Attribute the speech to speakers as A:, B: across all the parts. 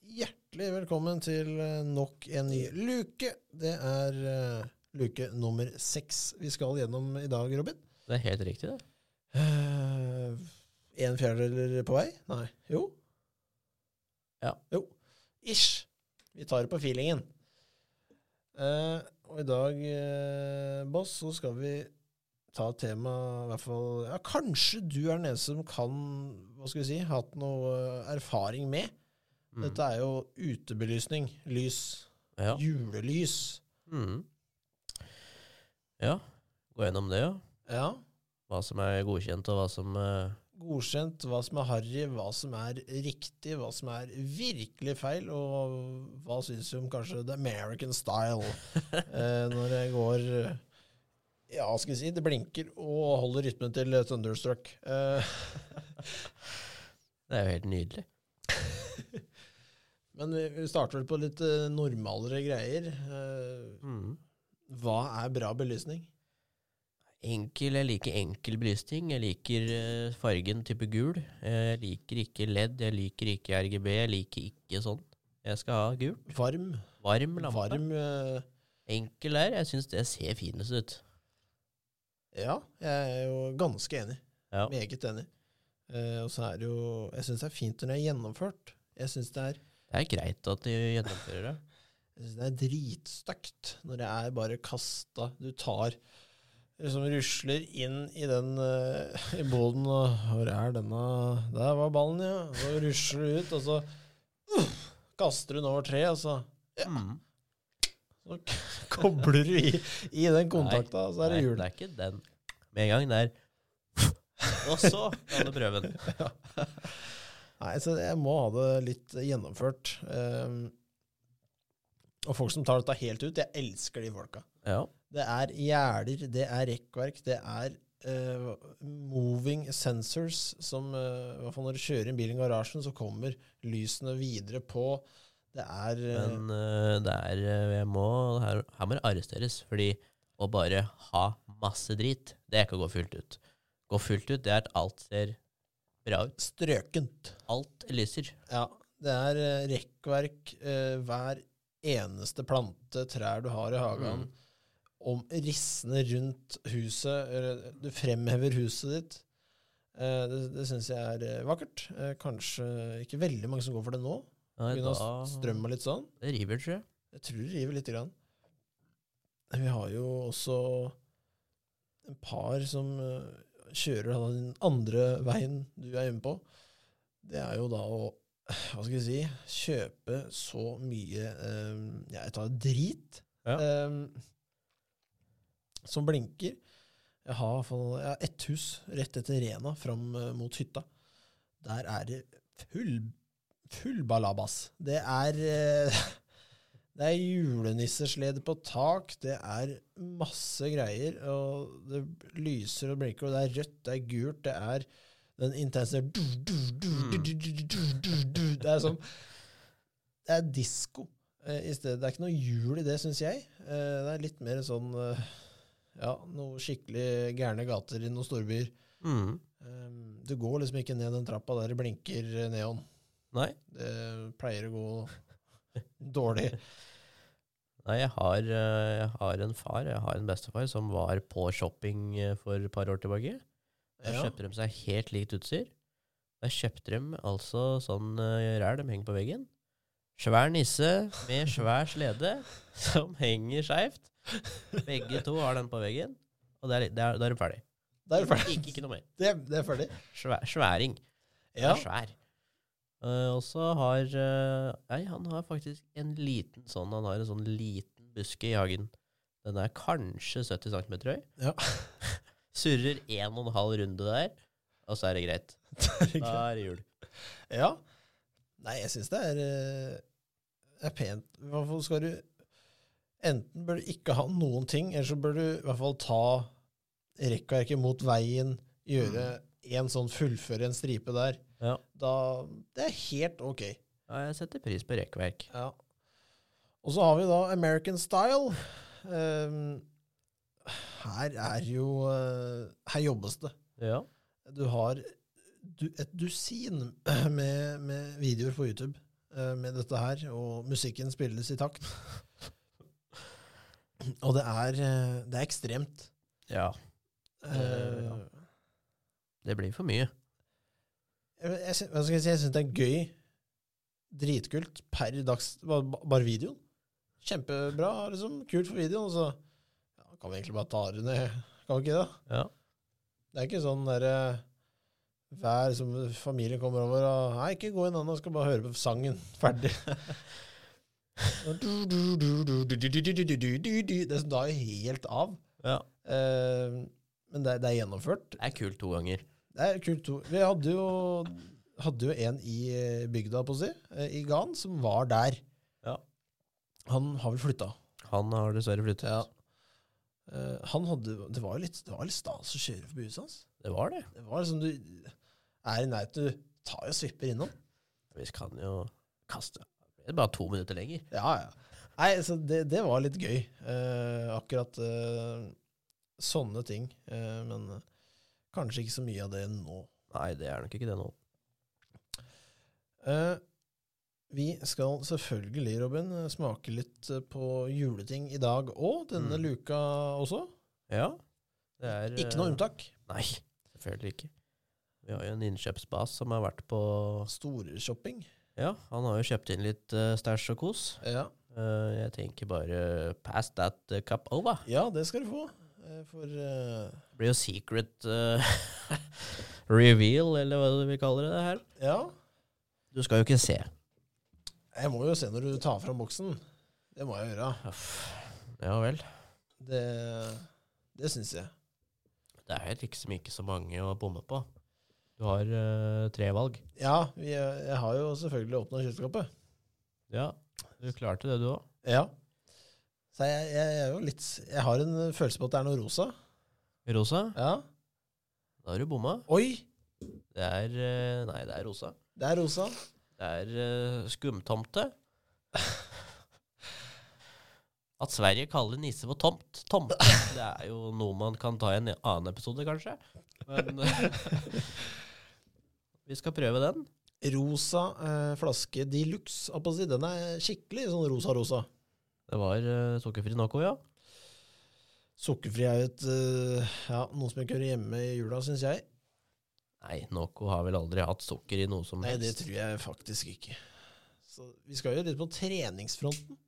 A: Hjertelig velkommen til eh, nok en ny luke. Det er eh, luke nummer seks vi skal gjennom i dag, Robin.
B: Det er helt riktig, det.
A: Eh, en fjerdedel på vei? Nei. Jo.
B: Ja.
A: Jo. Ish. Vi tar det på feelingen. Eh, og i dag, eh, boss, så skal vi ta et tema i hvert fall ja, Kanskje du er den eneste som kan hva skal vi si, hatt noe eh, erfaring med.
B: Mm.
A: Dette er jo utebelysning. Lys.
B: ja.
A: Julelys.
B: Mm. ja. Gå gjennom det, ja.
A: Ja.
B: Hva som er godkjent, og hva som eh,
A: Godkjent hva som er harry, hva som er riktig, hva som er virkelig feil, og hva syns vi om kanskje the American style eh, når det går eh, Ja, hva skal vi si, det blinker og holder rytmen til eh, Thunderstruck. Eh,
B: Det er jo helt nydelig.
A: men vi, vi starter vel på litt eh, normalere greier. Eh,
B: Mm.
A: hva er bra belysning?
B: Enkel, Jeg liker enkel belysning. Jeg liker eh, fargen type gul. Jeg liker ikke LED, jeg liker ikke RGB, jeg liker ikke sånn. Jeg skal ha gul.
A: Varm.
B: Varm lampe.
A: Varm eh,
B: Enkel der. Jeg syns det ser finest ut.
A: Ja, jeg er jo ganske enig.
B: Ja.
A: Meget enig. Eh, og så er det jo Jeg syns det er fint når det er gjennomført. Jeg syns det er
B: Det er greit at de gjennomfører det.
A: Jeg synes det er dritstøkt når det er bare kasta Du tar Liksom rusler inn i den eh, i boden og Hvor er denne Der var ballen, ja. Så rusler du ut, og så uff, kaster du den over treet, og så,
B: Mm.
A: så k- kobler du i, i den kontakta, og så er det
B: Nei,
A: jul.
B: Det er ikke den. Med en gang det er Og så kan du prøve den.
A: Nei, så jeg må ha det litt gjennomført. Ehm, og folk som tar dette helt ut, jeg elsker de folka.
B: Ja.
A: Det er gjerder, det er rekkverk, det er eh, moving sensors som eh, i hvert fall Når du kjører inn bilen i garasjen, så kommer lysene videre på. Det er eh,
B: Men eh, det er eh, Jeg må her, her må det arresteres, fordi å bare ha masse drit, det er ikke å gå fullt ut. Gå fullt ut, det er at alt ser bra ut.
A: strøkent.
B: Alt lyser.
A: Ja, det er eh, rekkverk eh, hver eneste plante, trær du har i hagen,
B: Mm.
A: om rissene rundt huset. eller eh, Du fremhever huset ditt. Eh, Det, det syns jeg er eh, vakkert. Eh, Kanskje ikke veldig mange som går for det nå.
B: Nei,
A: Begynner å
B: da-
A: strømme litt sånn.
B: Det river, tror jeg.
A: Jeg tror det river lite grann. Vi har jo også en par som eh, kjører da den andre veien du er hjemme på. Det er jo da å hva skal jeg si, kjøpe så mye eh, ja, jeg tar drit
B: Ja.
A: eh, som blinker. Jeg har i hvert fall- jeg har ett hus rett etter Rena fram eh, mot hytta. Der er det full, full balabas. Det er eh, det er julenisseslede på tak, det er masse greier, og det lyser og blinker, og det er rødt, det er gult, det er den intense du, du, du, du, du, du, du, du, du. Det er som Det er disko eh, i stedet. Det er ikke noe jul i det, syns jeg. Eh, det er litt mer sånn eh, Ja, noe skikkelig gærne gater i noen storbyer.
B: Mm.
A: Eh, du går liksom ikke ned den trappa der det blinker eh, neon.
B: Nei.
A: Det pleier å gå dårlig.
B: Nei, jeg har, eh, jeg har en far, jeg har en bestefar, som var på shopping eh, for et par år tilbake. Der
A: Ja.
B: kjøpte de seg helt likt utstyr. Der kjøpte de altså sånn uh, ræl de henger på veggen. Svær nisse med svær slede som henger skeivt. Begge to har den på veggen, og der, der, der er de ferdig.
A: Da er vi ferdig.
B: Ikke, ikke noe mer.
A: Det, det er ferdig.
B: Svær, sværing. Den
A: Ja.
B: er svær. Eh, og så har eh, Nei, han har faktisk en liten sånn Han har en sånn liten buske i hagen. Den er kanskje 70 cm høy.
A: Ja.
B: Surrer en og en halv runde der, og så er det greit. Da er det jul.
A: ja. Nei, jeg syns det er, eh, er pent. I hvert fall skal du Enten bør du ikke ha noen ting, eller så bør du i hvert fall ta rekkverket mot veien, gjøre en sånn fullføre en stripe der.
B: Mm. Ja.
A: Da Det er helt ok.
B: Ja, jeg setter pris på rekkverk.
A: Ja. Og så har vi da American Style. Ehm, her er jo eh, Her jobbes det.
B: Ja.
A: Du har du, et dusin med, med videoer på YouTube. eh, med dette her, og musikken spilles i takt. og det er, eh, det er ekstremt.
B: Ja.
A: Eh,
B: Eh, Det blir for mye.
A: jeg, jeg, sy- hva skal jeg si? Jeg syns det er gøy, dritkult, per dags ba- ba- Bare videoen. Kjempebra, liksom. Kult for videoen. Og så ja, kan vi egentlig bare ta det ned, kan vi ikke det?
B: Ja.
A: Det er ikke sånn derre hver som familien kommer over og Nei, ikke gå inn ennå, skal bare høre på sangen. Ferdig. Det som da er helt av.
B: ja.
A: Eh, men det, er- det er gjennomført.
B: Det er kult to ganger.
A: Det er kult. to- Vi hadde jo, hadde jo en i eh, bygda, på å si, eh, i Gan, som var der.
B: Ja.
A: Han har vel flytta.
B: Han har dessverre flyttet.
A: Eh, han hadde, det var jo litt, det var litt stas å kjøre forbi huset hans.
B: Det var det.
A: Det var liksom du er i nærheten, du tar jo svipper innom.
B: Vi kan jo kaste Det er bare to minutter lenger.
A: Ja, ja. Nei, så det, det var litt gøy. Eh, akkurat eh, sånne ting. Eh, men eh, kanskje ikke så mye av det nå.
B: Nei, det er nok ikke det nå.
A: Eh, vi skal selvfølgelig, Robin, eh, smake litt eh, på juleting i dag òg. Denne
B: Mm.
A: luka også.
B: Ja. Det er
A: Ikke noe
B: eh,
A: unntak.
B: Nei, selvfølgelig ikke. Vi har jo en innkjøpsbas som har vært på
A: Storshopping.
B: Ja, han har jo kjøpt inn litt uh, stæsj og kos.
A: Ja.
B: Eh, jeg tenker bare pass that eh, cup over.
A: ja, det skal du få. Eh, for eh,
B: Det blir jo secret eh, reveal, eller hva vi kaller det her.
A: Ja.
B: Du skal jo ikke se.
A: Jeg må jo se når du tar fram boksen. Det må jeg gjøre.
B: Uff. Ja vel.
A: Det, det syns jeg.
B: Det er liksom ikke så mange å bomme på. Du har eh, tre valg.
A: Ja, vi, jeg har jo selvfølgelig åpna kjøleskapet.
B: Ja, du klarte det, du òg.
A: Ja. Så jeg, jeg, jeg er jo litt Jeg har en følelse på at det er noe rosa.
B: Rosa,
A: Ja.
B: da har du bomma.
A: Oi!
B: Det er eh, Nei, det er rosa.
A: Det er rosa.
B: Det er eh, skumtomte. At Sverige kaller nisse for tomt, tomte, det er jo noe man kan ta i en annen episode, kanskje. Men eh, vi skal prøve den.
A: Rosa eh, flaske de luxe. holdt på å si. Den er skikkelig sånn rosa-rosa.
B: Det var eh, sukkerfri Noco, ja.
A: Sukkerfri er jo et eh, ja, noe som ikke hører hjemme i jula, syns jeg.
B: Nei, Noco har vel aldri hatt sukker i noe som
A: Nei, det
B: helst.
A: tror jeg faktisk ikke. Så vi skal jo litt på treningsfronten.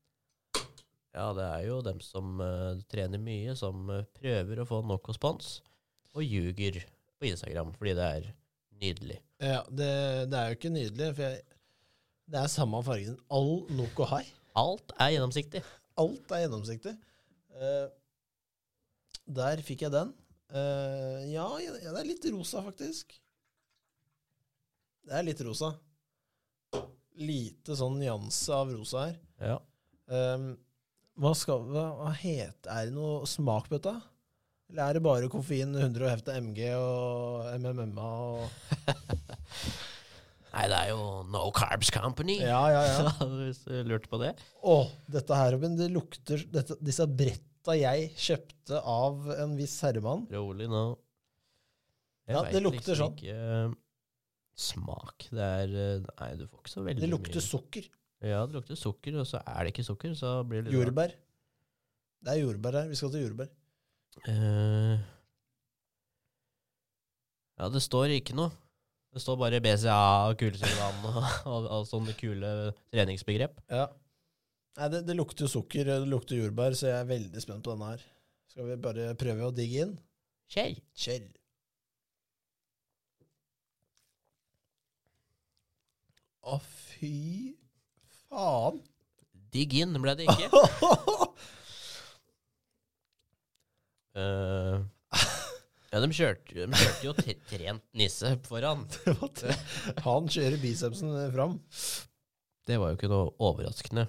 B: Ja, det er jo dem som eh, trener mye, som eh, prøver å få nok respons, og ljuger på Instagram fordi det er nydelig.
A: Ja, det, det er jo ikke nydelig, for jeg, det er samme fargen all Noco har.
B: Alt er gjennomsiktig.
A: Alt er gjennomsiktig. Eh, der fikk jeg den. Eh, ja, ja, det er litt rosa, faktisk. Det er litt rosa. Lite sånn nyanse av rosa her.
B: Ja.
A: Eh, hva, skal, hva, hva het, Er det noe smak på dette? Eller er det bare koffein, 100 og hefte MG og MMMA og
B: Nei, det er jo No Carbs Company.
A: Ja, ja, ja.
B: Hvis du lurte på det.
A: Å, dette her, Robin, det lukter dette, Disse bretta jeg kjøpte av en viss herremann
B: Rolig nå.
A: Ja,
B: vet
A: det lukter
B: liksom
A: sånn.
B: Ikke, eh, smak. Det er eh, Nei, du får ikke så veldig
A: Det
B: mye.
A: lukter sukker.
B: Ja, det lukter sukker, og så er det ikke sukker, så blir det litt rart.
A: Jordbær. Det er jordbær her. Vi skal til jordbær.
B: Eh, ja, det står ikke noe. Det står bare BCA og kulesyrevann og, og, og sånne kule treningsbegrep.
A: Ja. Nei, det, det lukter jo sukker, det lukter jordbær, så jeg er veldig spent på denne her. Skal vi bare prøve å digge inn?
B: Kjell.
A: Kjell. Å, fy faen.
B: Digg inn ble det ikke. Eh, ja, de kjørte, de kjørte jo tre- trent nisse foran.
A: Han kjører bicepsen fram.
B: Det var jo ikke noe overraskende.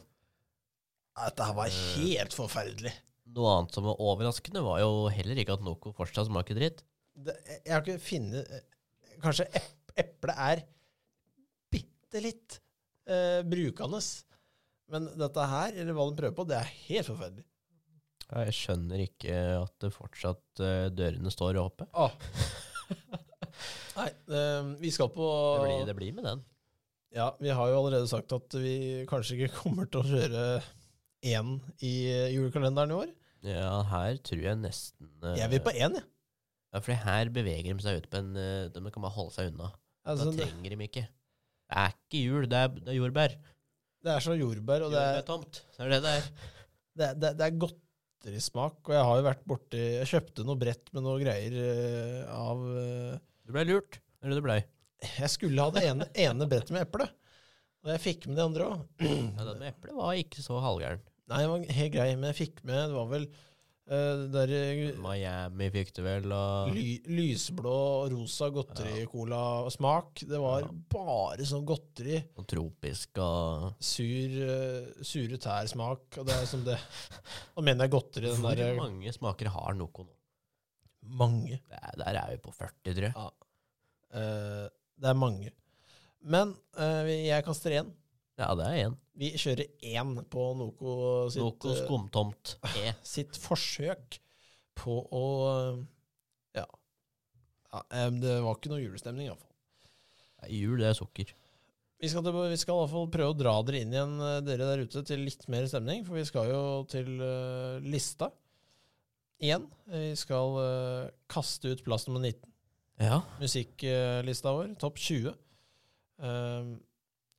A: Dette her var helt forferdelig.
B: Noe annet som var overraskende, var jo heller ikke at Noco fortsatt smaker dritt.
A: det, Jeg har ikke funnet eh, Kanskje ep- eple er bitte litt eh, brukende. Men dette her, eller hva de prøver på, det er helt forferdelig.
B: Ja, Jeg skjønner ikke at det fortsatt eh, dørene står åpne.
A: Åh. Nei, eh, vi skal på
B: Det blir, det blir med den.
A: Ja, vi har jo allerede sagt at vi kanskje ikke kommer til å kjøre én i julekalenderen i år.
B: Ja, her tror jeg nesten eh,
A: Jeg vil på én, jeg.
B: Ja, fordi her beveger de seg ut på en eh, De kan bare holde seg unna.
A: Altså,
B: da
A: det,
B: trenger de ikke. Det er ikke jul, det er, det er jordbær.
A: det er så jordbær, og det er,
B: Jordbærtomt. Det er det det er.
A: det, er- det, er- det er godterismak. Og jeg har jo vært borti Jeg kjøpte noe brett med noe greier eh, av eh,
B: Du blei lurt. Eller du blei.
A: Jeg skulle ha det ene, ene brettet med eple, og jeg fikk med det andre òg.
B: Ja, den med eplet var ikke så halvgæren.
A: Nei, den var helt grei, men jeg fikk med Det var vel eh, det der eh,
B: Miami fikk du vel, og
A: ly, lysblå, rosa godtericola-smak. Det var
B: Ja.
A: bare sånn godteri.
B: og tropisk og
A: Sur, eh, sure tær-smak. Og det er som det Nå mener jeg godteri. Den
B: Hvor
A: der, eh,
B: mange smaker har Noco nå?
A: mange.
B: Det er- Der er vi på 40, tror jeg.
A: Eh, det er mange. Men eh, vi- jeg kaster én.
B: Ja, det er én.
A: Vi kjører én på Noco sitt,
B: Noco
A: eh,
B: skumtomt. E.
A: sitt forsøk på å eh, Ja. ja eh, det var ikke noe julestemning, iallfall.
B: Nei, Jul, det er sukker.
A: Vi skal, til- vi skal i hvert fall prøve å dra dere inn igjen, eh, dere der ute, til litt mer stemning. For vi skal jo til eh, lista igjen. Vi skal eh, kaste ut plass nummer 19,
B: Ja.
A: musikklista vår. Topp 20. Eh,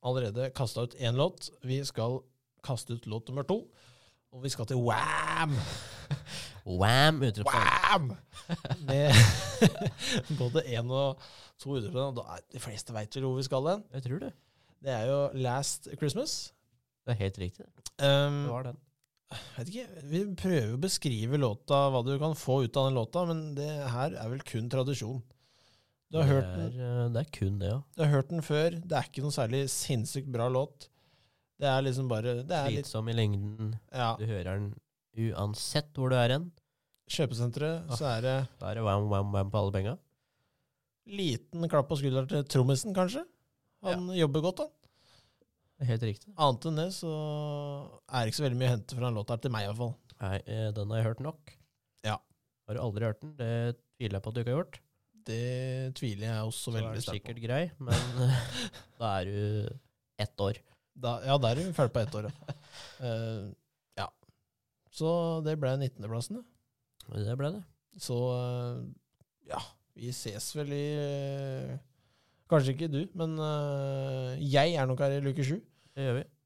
A: allerede kasta ut én låt. Vi skal kaste ut låt nummer to. Og vi skal til Wam!
B: Wam! Utropstegn.
A: Wam! Med både én og to utropstegn. og da er- De fleste veit vel hvor vi skal hen.
B: Jeg tror det.
A: Det er jo Last Christmas.
B: Det er helt riktig. Det
A: Um,
B: var den.
A: vet ikke, Vi prøver å beskrive låta, hva du kan få ut av den låta, men det her er vel kun tradisjon. Du har, hørt den,
B: Det er, eh, det er kun det, ja.
A: du har hørt den før. Det er ikke noen særlig sinnssykt bra låt. Det er liksom bare det er litt,
B: Slitsom i lengden.
A: ja,
B: Du hører den uansett hvor du er hen.
A: Kjøpesenteret,
B: Ah.
A: så er det
B: Da er det wam, wam, wam på alle penga.
A: liten klapp på skulderen til trommisen, kanskje. Han jobber godt, han.
B: Det er Helt riktig.
A: Annet enn det så er det ikke så veldig mye å hente fra den låta her, til meg i hvert fall.
B: Nei, eh, den har jeg hørt nok.
A: Ja.
B: Har du aldri hørt den? Det tviler jeg på at du ikke har gjort.
A: Det tviler jeg også
B: Så er
A: veldig
B: den
A: sterkt på.
B: sikkert grei, men eh, da er du ett år.
A: Da, ja, der er vi ferdig på ett år, ja. Eh, ja. Så det ble 19.-plassen, det.
B: Det ble det.
A: Så eh, ja, vi ses vel i eh, Kanskje ikke du, men eh, jeg er nok her i luke sju.
B: Det gjør vi.